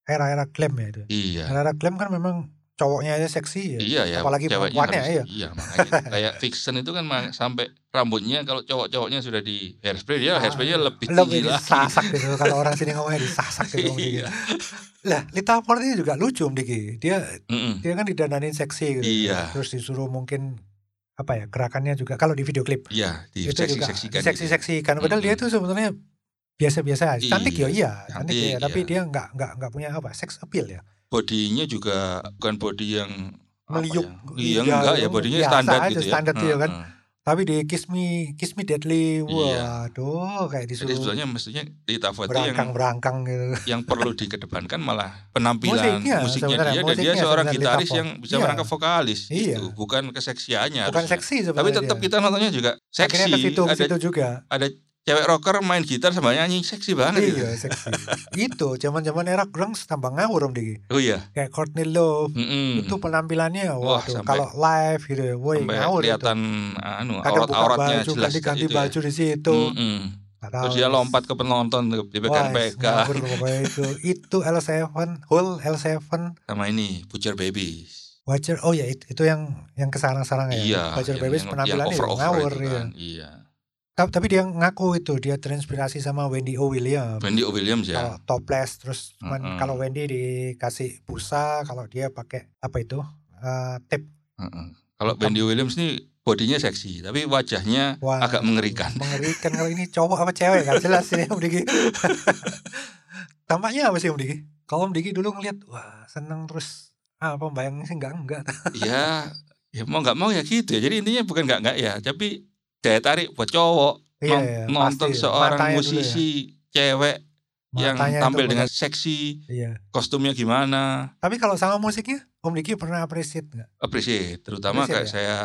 era-era glam ya itu.
Iya.
Era-era glam kan memang cowoknya aja seksi ya.
Iya ya,
Apalagi
ceweknya
perempuannya
harus-
iya.
makanya kayak fiction itu kan ma- sampai rambutnya kalau cowok-cowoknya sudah di hairspray dia
Ah,
hairspray-nya lebih
Lebih
tinggi lagi.
disasak gitu kalau orang sini ngomongnya disasak gitu. Om Diki.
Iya.
Lah, Lita Ford ini juga lucu Om Diki. Dia
Mm-mm.
dia kan didandanin seksi gitu.
Iya.
Terus disuruh mungkin apa ya gerakannya juga kalau di video klip
Iya, di
itu juga
seksi-seksikan. gitu.
seksi-seksikan. Padahal dia itu
Mm-mm.
sebenarnya biasa-biasa aja. Cantik ya
Iya,
iya, cantik,
cantik,
ya. Tapi
iya.
dia nggak nggak nggak punya apa sex appeal ya.
gitu. Bodinya juga bukan body yang apa
Meliuk.
ya? Iya
Iya,
enggak ya
yang
bodinya
biasa
standar
aja,
gitu ya.
standar gitu kan.
Heeh.
Tapi di Kiss Me, Kiss Me Deadly,
Iya.
waduh kayak
Jadi
disuruh
sebetulnya mestinya di Tavo itu yang Nah,
berangkang-berangkang gitu.
yang perlu dikedepankan malah penampilan
Musiknya,
musiknya,
sebenarnya,
dia dan dia
musiknya
seorang
sebenarnya
gitaris
Litavo.
yang bisa
Iya.
merangkap vokalis
Iya.
gitu, bukan keseksiannya
Bukan
harusnya.
seksi sebenarnya.
ya. Tapi tetap
dia.
kita nontonnya juga
Akhirnya ke
seksi.
situ, ke
Ada
situ juga.
cewek rocker main gitar sama nyanyi seksi banget gitu.
Iya, seksi. itu zaman-zaman era grunge tambah ngawur om Diki.
Oh iya.
Kayak Courtney Love
Mm-mm.
itu penampilannya
Wah,
waduh
sampai-
kalau live gitu ya, woi
Sampai
ngawur itu.
kelihatan anu
Kadang buka
aurat-auratnya
baju,
jelas kayak
ganti-ganti
gitu ya.
baju di situ.
Mm-mm.
Nggak tahu,
Terus dia lompat ke penonton dipegang-pegang
ngawur pokoknya itu. itu L7, whole L7
sama ini Butcher Babies.
Watcher, oh ya itu, itu yang yang kesarang-sarang ya.
Iya.
Watcher
yang-
Babies
yang- yang
penampilannya ya
over-over
ngawur
itu
ya.
kan. Iya.
Ta- Tapi dia ngaku itu dia terinspirasi sama Wendy O Williams.
Wendy O. Williams ya.
Kalau topless terus cuman
Mm-mm.
kalau Wendy dikasih busa, kalau dia pakai apa itu? eh tape
Heeh. Kalau Wendy Williams nih bodinya seksi, tapi wajahnya
Wah,
agak mengerikan.
Mengerikan kalau ini cowok apa cewek nggak jelas ini Om Diki. Tampaknya apa sih Om Diki? Kalau Om Diki dulu ngeliat wah seneng terus ah pembayangnya sih enggak enggak.
ya, ya mau nggak mau ya gitu ya. Jadi intinya bukan nggak nggak ya, tapi daya tarik buat cowok
Iya,
non-
iya,
nonton
pasti.
seorang
Matanya dulu ya.
musisi cewek yang
Matanya itu
tampil
bener.
dengan seksi,
Iya.
kostumnya gimana,
Tapi kalau sama musiknya Om Diki pernah appreciate nggak?
appreciate.
Gitu.
Terutama
Appreciate
kayak saya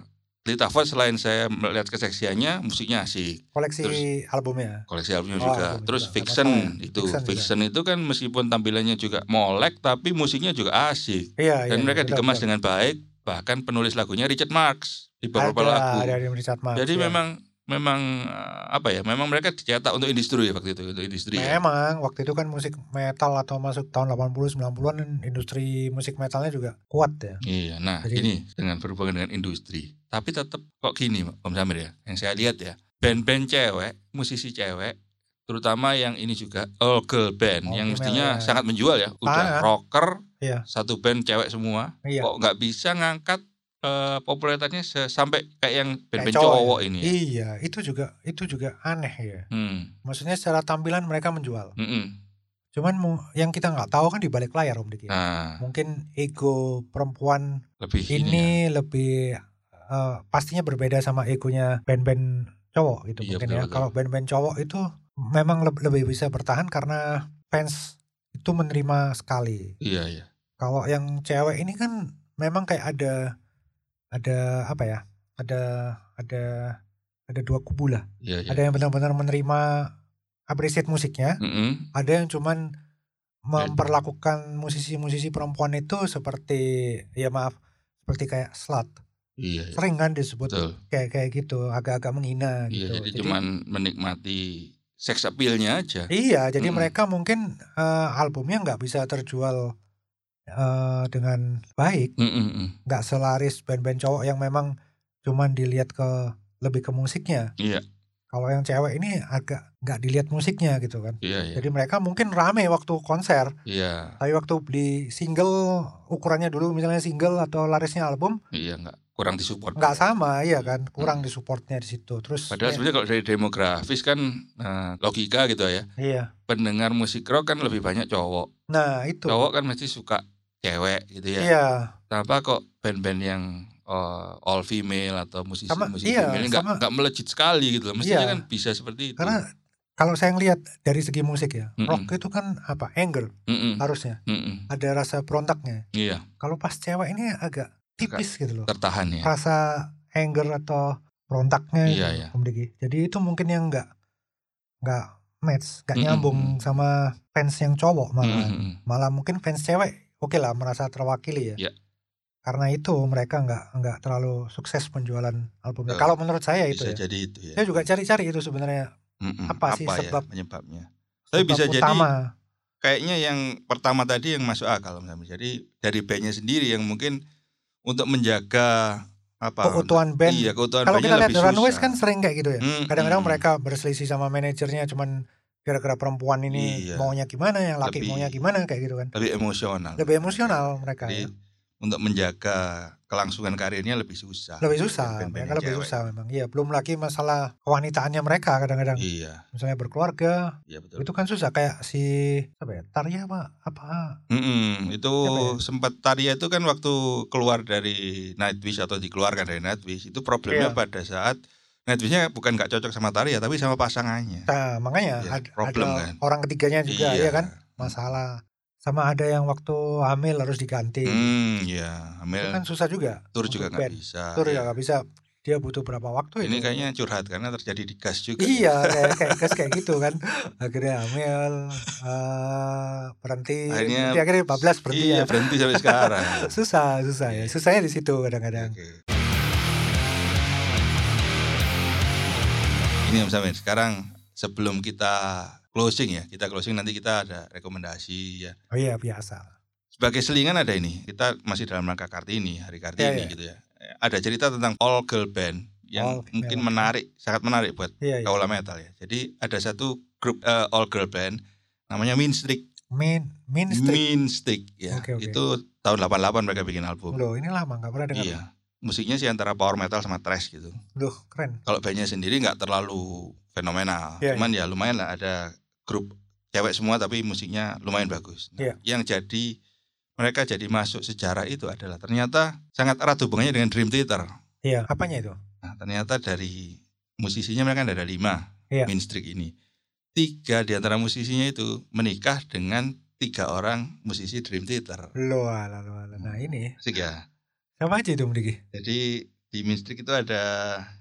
eh Lita Ford selain saya melihat keseksiannya, musiknya asik.
Koleksi
Terus-
albumnya.
koleksi albumnya
Oh,
juga.
album
Terus
juga,
Fiction
nggak apa-apa ya.
itu,
Fiction juga.
Fiction itu kan meskipun tampilannya juga molek tapi musiknya juga asik.
Iya,
Dan
iya,
mereka
benar,
dikemas
benar.
dengan baik, bahkan penulis lagunya Richard Marx di beberapa
Ada,
lagu.
ada dari Richard Marx,
Jadi
ya.
memang memang eh, apa ya? Memang mereka dicetak untuk industri ya waktu itu, untuk industri. ya.
memang waktu itu kan musik metal atau masuk tahun 80 90-an kan industri musik metalnya juga kuat ya.
Iya, nah
Jadi-
ini dengan berhubungan dengan industri. Tapi tetap kok gini, Om Samir ya. Yang saya lihat ya, band-band cewek, musisi cewek, terutama yang ini juga all girl band,
All
yang
female,
mestinya
ya.
sangat menjual ya. Udah
Sangat.
rocker,
Iya.
satu band cewek semua,
Iya.
kok nggak bisa ngangkat eh, popularitasnya se- sampai kayak yang band-band
Kayak
cowok,
ya.
ini. Ya.
Iya, itu juga itu juga aneh ya.
Hmm,
Maksudnya secara tampilan mereka menjual.
mm-mm.
Cuman mu- yang kita nggak tahu kan di balik layar Om Diki.
Nah,
Mungkin ego perempuan
lebih ya.
ini lebih eh, pastinya berbeda sama egonya band-band cowok gitu
Iya,
mungkin
betul,
ya.
betul.
Kalau band-band cowok itu memang leb- lebih bisa bertahan karena fans itu menerima sekali.
Iya, iya.
kalau yang cewek ini kan memang kayak ada ada apa ya ada ada ada dua kubu lah
Iya, iya.
ada yang benar-benar menerima appreciate musiknya
Mm-mm.
ada yang cuman memperlakukan musisi-musisi perempuan itu seperti ya maaf seperti kayak slut
Iya, iya.
sering kan disebut
Betul.
kayak kayak gitu agak-agak menghina
Iya,
gitu
jadi, cuman menikmati seks appeal-nya aja.
Iya, jadi
Mm-mm.
mereka mungkin eh, albumnya nggak bisa terjual eh, dengan baik
Mm-mm.
nggak selaris band-band cowok yang memang cuman dilihat ke lebih ke musiknya.
Iya.
Kalau yang cewek ini agak nggak dilihat musiknya gitu kan.
Iya, iya.
Jadi mereka mungkin rame waktu konser,
Iya,
tapi waktu beli single ukurannya dulu misalnya single atau larisnya album
iya enggak kurang disupport.
nggak sama iya kan, kurang di supportnya di situ. Terus eh,
Padahal sebenarnya kalau dari demografis kan eh, logika gitu ya.
iya.
Pendengar musik rock kan lebih banyak cowok.
Nah, itu.
Cowok kan mesti suka cewek gitu ya.
Iya,
Kenapa kok band-band yang eh, all female atau musisi
Sama-
musisi
iya,
female enggak
sama.
enggak melejit sekali gitu loh. Mestinya
Iya.
kan bisa seperti itu.
karena kalau saya ngelihat dari segi musik ya,
Mm-mm.
rock itu kan apa? Anger
Mm-mm,
harusnya.
mm-mm.
Ada rasa berontaknya.
Iya,
Kalau pas cewek ini agak tipis gitu loh.
tertahan ya.
rasa anger atau rontaknya
Iya,
gitu,
iya.
Om Diki. Jadi itu mungkin yang nggak nggak match, nggak
Mm-mm.
nyambung sama fans yang cowok malah.
Mm-mm.
Malah mungkin fans cewek oke lah merasa terwakili ya.
Iya.
Karena itu mereka nggak nggak terlalu sukses penjualan albumnya.
Betul.
Kalau menurut saya itu
Bisa
ya.
jadi itu ya.
Saya juga cari-cari itu sebenarnya
Mm-mm.
apa sih
ya
sebab-
penyebabnya?
sebab
Tapi bisa jadi-
utama.
kayaknya yang pertama tadi yang masuk akal Om Sami. Jadi dari bandnya sendiri yang mungkin untuk menjaga apa
keutuhan band.
iya keutuhan
Kalau kita
bandnya
lihat
lebih
The Runaways
susah.
kan sering kayak gitu ya.
Mm,
kadang-kadang
mm.
mereka berselisih sama manajernya cuman gara-gara perempuan ini
Iya.
maunya gimana yang laki
Lebih- Ah.
maunya gimana kayak gitu kan
lebih emosional.
lebih emosional mereka
Jadi
ya.
untuk menjaga kelangsungan karirnya lebih susah.
lebih susah
Band-band
mereka
yang
lebih
cewek.
susah memang iya belum lagi masalah kewanitaannya mereka kadang-kadang
Iya,
misalnya berkeluarga
iya betul.
itu kan susah kayak si apa ya Tarya apa apa
Mm-mm, Hmm, itu
Siapa ya?
sempat Tarya itu kan waktu keluar dari Nightwish atau dikeluarkan dari Nightwish itu problemnya
Iya.
pada saat Nightwishnya bukan nggak cocok sama Tarya tapi sama pasangannya.
nah makanya
Iya,
ada,
problem
ada
kan.
orang ketiganya juga iya. kan masalah sama ada yang waktu hamil harus diganti
Hmm, iya.
itu
Amel
kan susah juga
tur
untuk
juga nggak
band.
bisa.
tur ya
Iya.
nggak bisa dia butuh berapa waktu
Ini
itu
kayaknya curhat karena terjadi di gas juga. ya.
Iya, kayak kayak, kayak- kayak gitu kan. Akhirnya hamil, eh berhenti,
Akhirnya-
berhenti, akhirnya 14 berhenti
Iya
ya.
berhenti sampai sekarang.
Susah, susah ya. Susahnya di situ kadang-kadang.
Oke. Ini Om Samir, sekarang sebelum kita closing ya, kita closing nanti kita ada rekomendasi ya.
Oh iya, biasa.
Sebagai selingan ada ini, kita masih dalam rangka Kartini, Hari Kartini
Iya, iya.
gitu ya. Eh, Ada cerita tentang all girl band yang
All female
mungkin
band.
menarik, sangat menarik buat
Iya, iya.
kaula metal ya. Jadi ada satu grup eh, all girl band namanya Mean Streak,
Min, min street.
Mean Streak ya.
Oke, oke.
Itu tahun 88 mereka bikin album.
Loh, ini lama nggak pernah dengar.
Iya. Musiknya sih antara power metal sama thrash gitu.
Loh, keren.
Kalau bandnya sendiri nggak terlalu fenomenal,
Iya,
cuman ya lumayan lah ada grup cewek semua tapi musiknya lumayan bagus. Nah,
Iya.
Yang jadi mereka jadi masuk sejarah itu adalah ternyata sangat erat hubungannya dengan Dream Theater.
Iya, apanya itu?
Nah, ternyata dari musisinya mereka ada lima
Iya.
Mean Streak ini. Tiga di antara musisinya itu menikah dengan tiga orang musisi Dream Theater.
Loh, ala, loh, ala. Nah, ini.
Asik ya.
Siapa aja itu, Mdiki?
Jadi di Mistrik itu ada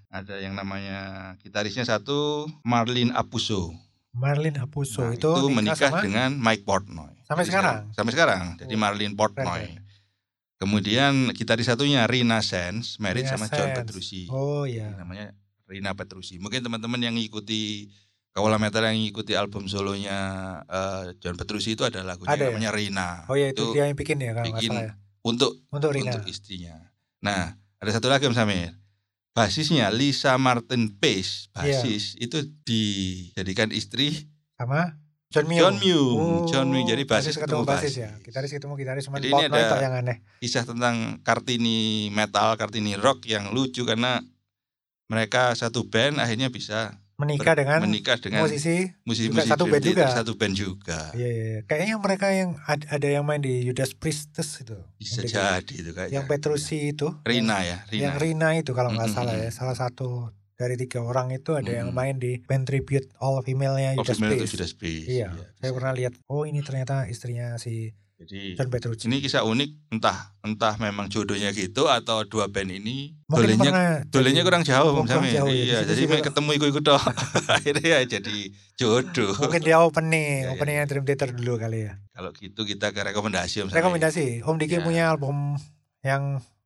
ada yang namanya gitarisnya satu Marlin Apuso.
Marlin Apuso
Nah,
itu,
menikah
sama
dengan Mike Portnoy.
Sampai
Jadi
sekarang?
Sampai sekarang. Jadi
Oh,
Marlin Portnoy.
keren,
Kemudian gitaris satunya Rina Sands, married
Rina
sama John
Sands.
Petrucci.
Oh
Jadi
iya.
Namanya Rina Petrucci. Mungkin teman-teman yang ngikuti Kawula Metal yang ngikuti album solonya eh, John Petrucci itu ada lagunya
Ada ya?
namanya Rina.
Oh iya, itu,
Itu
dia yang bikin ya kalau nggak
bikin
salah ya.
Untuk
Untuk Rina.
untuk istrinya. Nah, ada satu lagi Om Samir. Basisnya Lisa Martin Pace,
Iya.
basis itu dijadikan istri
sama John Mew.
John Mew. John Mew jadi basis
ketemu Oh,
ketemu
basis
basis.
ya. Gitaris ketemu gitaris cuman
Jadi ini
Bob Noy
ada-
tok yang aneh.
Kisah tentang Kartini metal, Kartini rock yang lucu karena mereka satu band akhirnya bisa
Menikah dengan
menikah dengan
musisi.
musisi-musisi
juga satu
Dream
band
Theater,
juga.
satu band juga.
Iya, iya, iya. Kayaknya mereka yang ad- ada yang main di Judas Priestess itu.
Bisa
Yang di-
jadi itu kayaknya.
Yang Petrusi itu.
Rina ya, Rina.
Yang Rina itu kalau nggak
Mm-mm.
salah ya. Salah satu dari tiga orang itu ada yang
Mm-mm.
main di band tribute all female-nya
Oh,
Judas
female itu
Priest.
Judas Priest.
Iya,
Iya,
saya
bisa.
pernah lihat. Oh, ini ternyata istrinya si
Jadi
John Petrucci.
ini kisah unik entah entah memang jodohnya gitu atau dua band ini
Mungkin
dolennya
pernah
dolennya
jadi-
kurang jauh
Oh,
Om
kurang
Samir.
jauh ya, di
iya
situ
jadi
sih
mek
kalau-
ketemu ikut ikut dong akhirnya ya jadi jodoh
Mungkin dia opening,
Iya, iya.
openingnya Dream Theater dulu kali ya.
kalau gitu kita ke rekomendasi Om Samir.
Rekomendasi, Om Diki
Ya.
punya album yang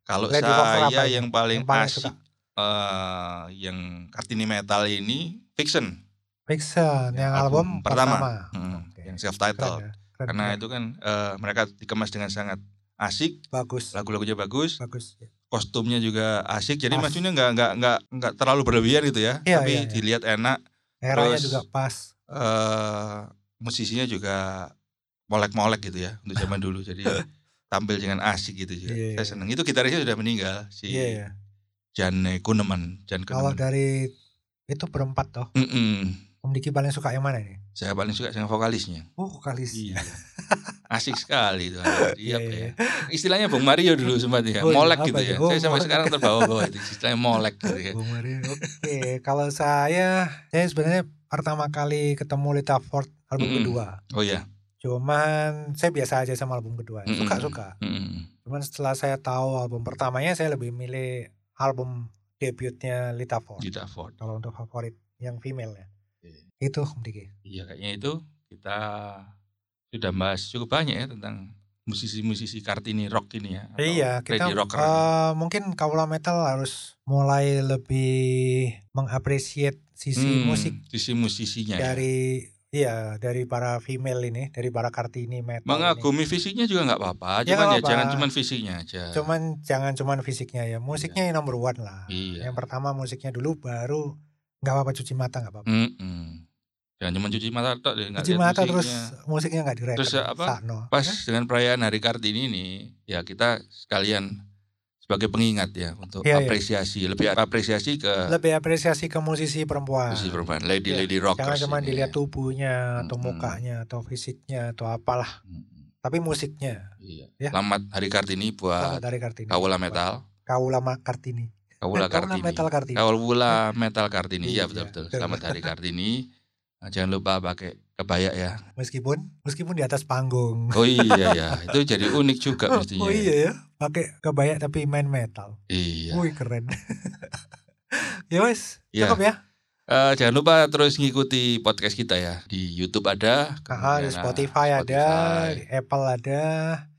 kalau
Lady Rocker apa
saya
ini?
yang paling,
Yang paling
asik
suka.
eh, yang kartini metal ini fiction
Fiction yang,
Yang
album,
album
pertama,
pertama. Hmm,
Oke.
yang self
Keren
title
ya, keren,
karena
keren.
itu kan eh, mereka dikemas dengan sangat asik
bagus
lagu-lagunya bagus
bagus ya.
kostumnya juga asik jadi
Pas.
maksudnya nggak nggak nggak nggak terlalu berlebihan gitu ya
Iya,
tapi
iya, iya.
dilihat enak
eranya
Terus-
juga pas
eh musisinya juga molek-molek gitu ya untuk zaman dulu jadi tampil dengan asik gitu juga
Iya, iya.
saya seneng itu gitarisnya sudah meninggal si
iya Oh, ya
Jan Kuneman Jan
kalau
Kuneman
dari itu berempat toh
Mm-mm.
Om Diki paling suka yang mana nih
saya paling suka dengan vokalisnya
uh vokalis
Iya, asik sekali itu anak. Iya,
Iya,
apa
iya.
ya. istilahnya Bung Mario dulu sempat ya
Oh, iya,
molek
apa
gitu
ya?
ya
Oh,
saya sampai
molek.
sekarang terbawa-bawa itu istilahnya molek gitu ya
Bung Mario. oke kalau saya saya sebenarnya pertama kali ketemu Lita Ford album
Mm-mm.
kedua
oh ya
cuman saya biasa aja sama album kedua
Mm-mm.
suka suka cuman setelah saya tahu album pertamanya saya lebih milih album debutnya Lita Ford
Gita Ford
kalau untuk favorit yang female ya
Oke.
itu Om Diki
Iya kayaknya itu kita sudah bahas cukup banyak ya tentang musisi-musisi Kartini rock ini ya. atau
Iya, kita
lady rocker. gitu.
eh, mungkin kaula metal harus mulai lebih mengapresiat sisi
Hmm,
musik
sisi musisinya. ya.
dari iya dari para female ini, dari para kartini metal. ini.
Mengagumi fisiknya juga nggak apa-apa,
Ya, nggak
cuman ya
apa-apa.
jangan cuman fisiknya aja.
Cuman jangan cuman fisiknya ya, musiknya yang nomor one lah.
Iya.
Yang pertama musiknya dulu, baru nggak apa-apa cuci mata nggak apa-apa.
Mm-mm. Jangan cuma cuci mata tok deh, nggak
cuci
lihat
mata terus
musiknya.
musiknya nggak direkam
Terus, eh, apa,
sakno
pas dengan perayaan Hari Kartini ini ya kita sekalian sebagai pengingat ya untuk
Iya, iya.
apresiasi lebih apresiasi ke
lebih apresiasi ke musisi perempuan
eh, musisi perempuan lady
Iya.
lady rockers
jangan cuma
ini.
dilihat tubuhnya atau
Mm-mm.
mukanya atau fisiknya atau apalah
Mm,
tapi musiknya
Iya.
Ya.
Selamat Hari Kartini
Selamat
buat
dari Kartini
Kawula Ah, Metal,
Kaulama Kartini Eh, Kaulama
Kawula Kartini.
Metal Kartini
Kawula Metal Kartini.
Iya.
Iya betul betul. Selamat Hari Kartini. Nah, Jangan lupa pakai kebaya ya.
meskipun meskipun di atas panggung
Oh iya ya, itu jadi unik juga mestinya.
oh iya ya pakai kebaya tapi main metal
Iya.
wih keren ya wes
Iya.
cukup ya
Eh, jangan lupa terus ngikuti podcast kita ya di YouTube ada,
Ah, di
kemudian, ah,
Spotify, ada
Spotify,
di Apple ada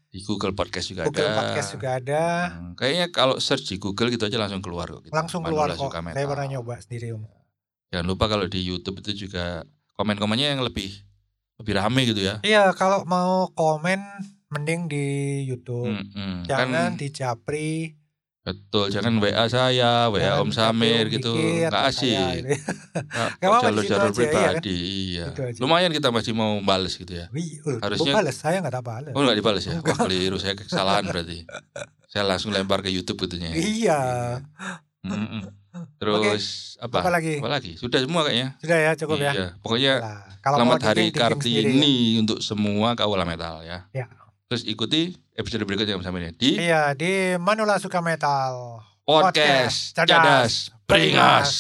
di Google Podcast juga
Google
ada.
Podcast juga ada
Hmm, kayaknya kalau search di Google gitu aja langsung keluar kok. Kita.
langsung keluar
Manula
kok
Suka
saya
Metal.
pernah nyoba sendiri om
Jangan lupa kalau di YouTube itu juga komen-komennya yang lebih lebih rame gitu ya.
Iya, kalau mau komen mending di YouTube.
Hmm, hmm.
Jangan
kan
di Japri.
betul, jangan WA saya,
jangan
WA ya, Om
di Japri,
Samir
Om
gitu,
Dikir,
nggak
atau
asik.
saya gitu.
Nah,
Nggak apa-apa, di situ
Jalur-jalur
aja, iya kan?
pribadi, iya.
Gitu aja.
Lumayan kita masih mau bales gitu ya.
Wih, eh,
Harusnya-
gua bales, saya nggak tak bales.
Oh nggak dibales ya? Wah
Enggak.
keliru saya kesalahan berarti. Saya langsung lempar ke YouTube itunya.
Iya.
Mm-mm. Terus apa?
Apa lagi?
Apa lagi? Sudah semua kayaknya.
Sudah ya, cukup ya.
Iya. Pokoknya
Nah, kalau mau
selamat
dikirim,
Hari
dikirim sendiri ya.
Kartini untuk semua kaula metal ya.
Ya.
Terus ikuti episode berikutnya bersama ini di
Iya, di Manula Suka Metal. Podcast
podcast, Cadas
Cadas,
Peringas.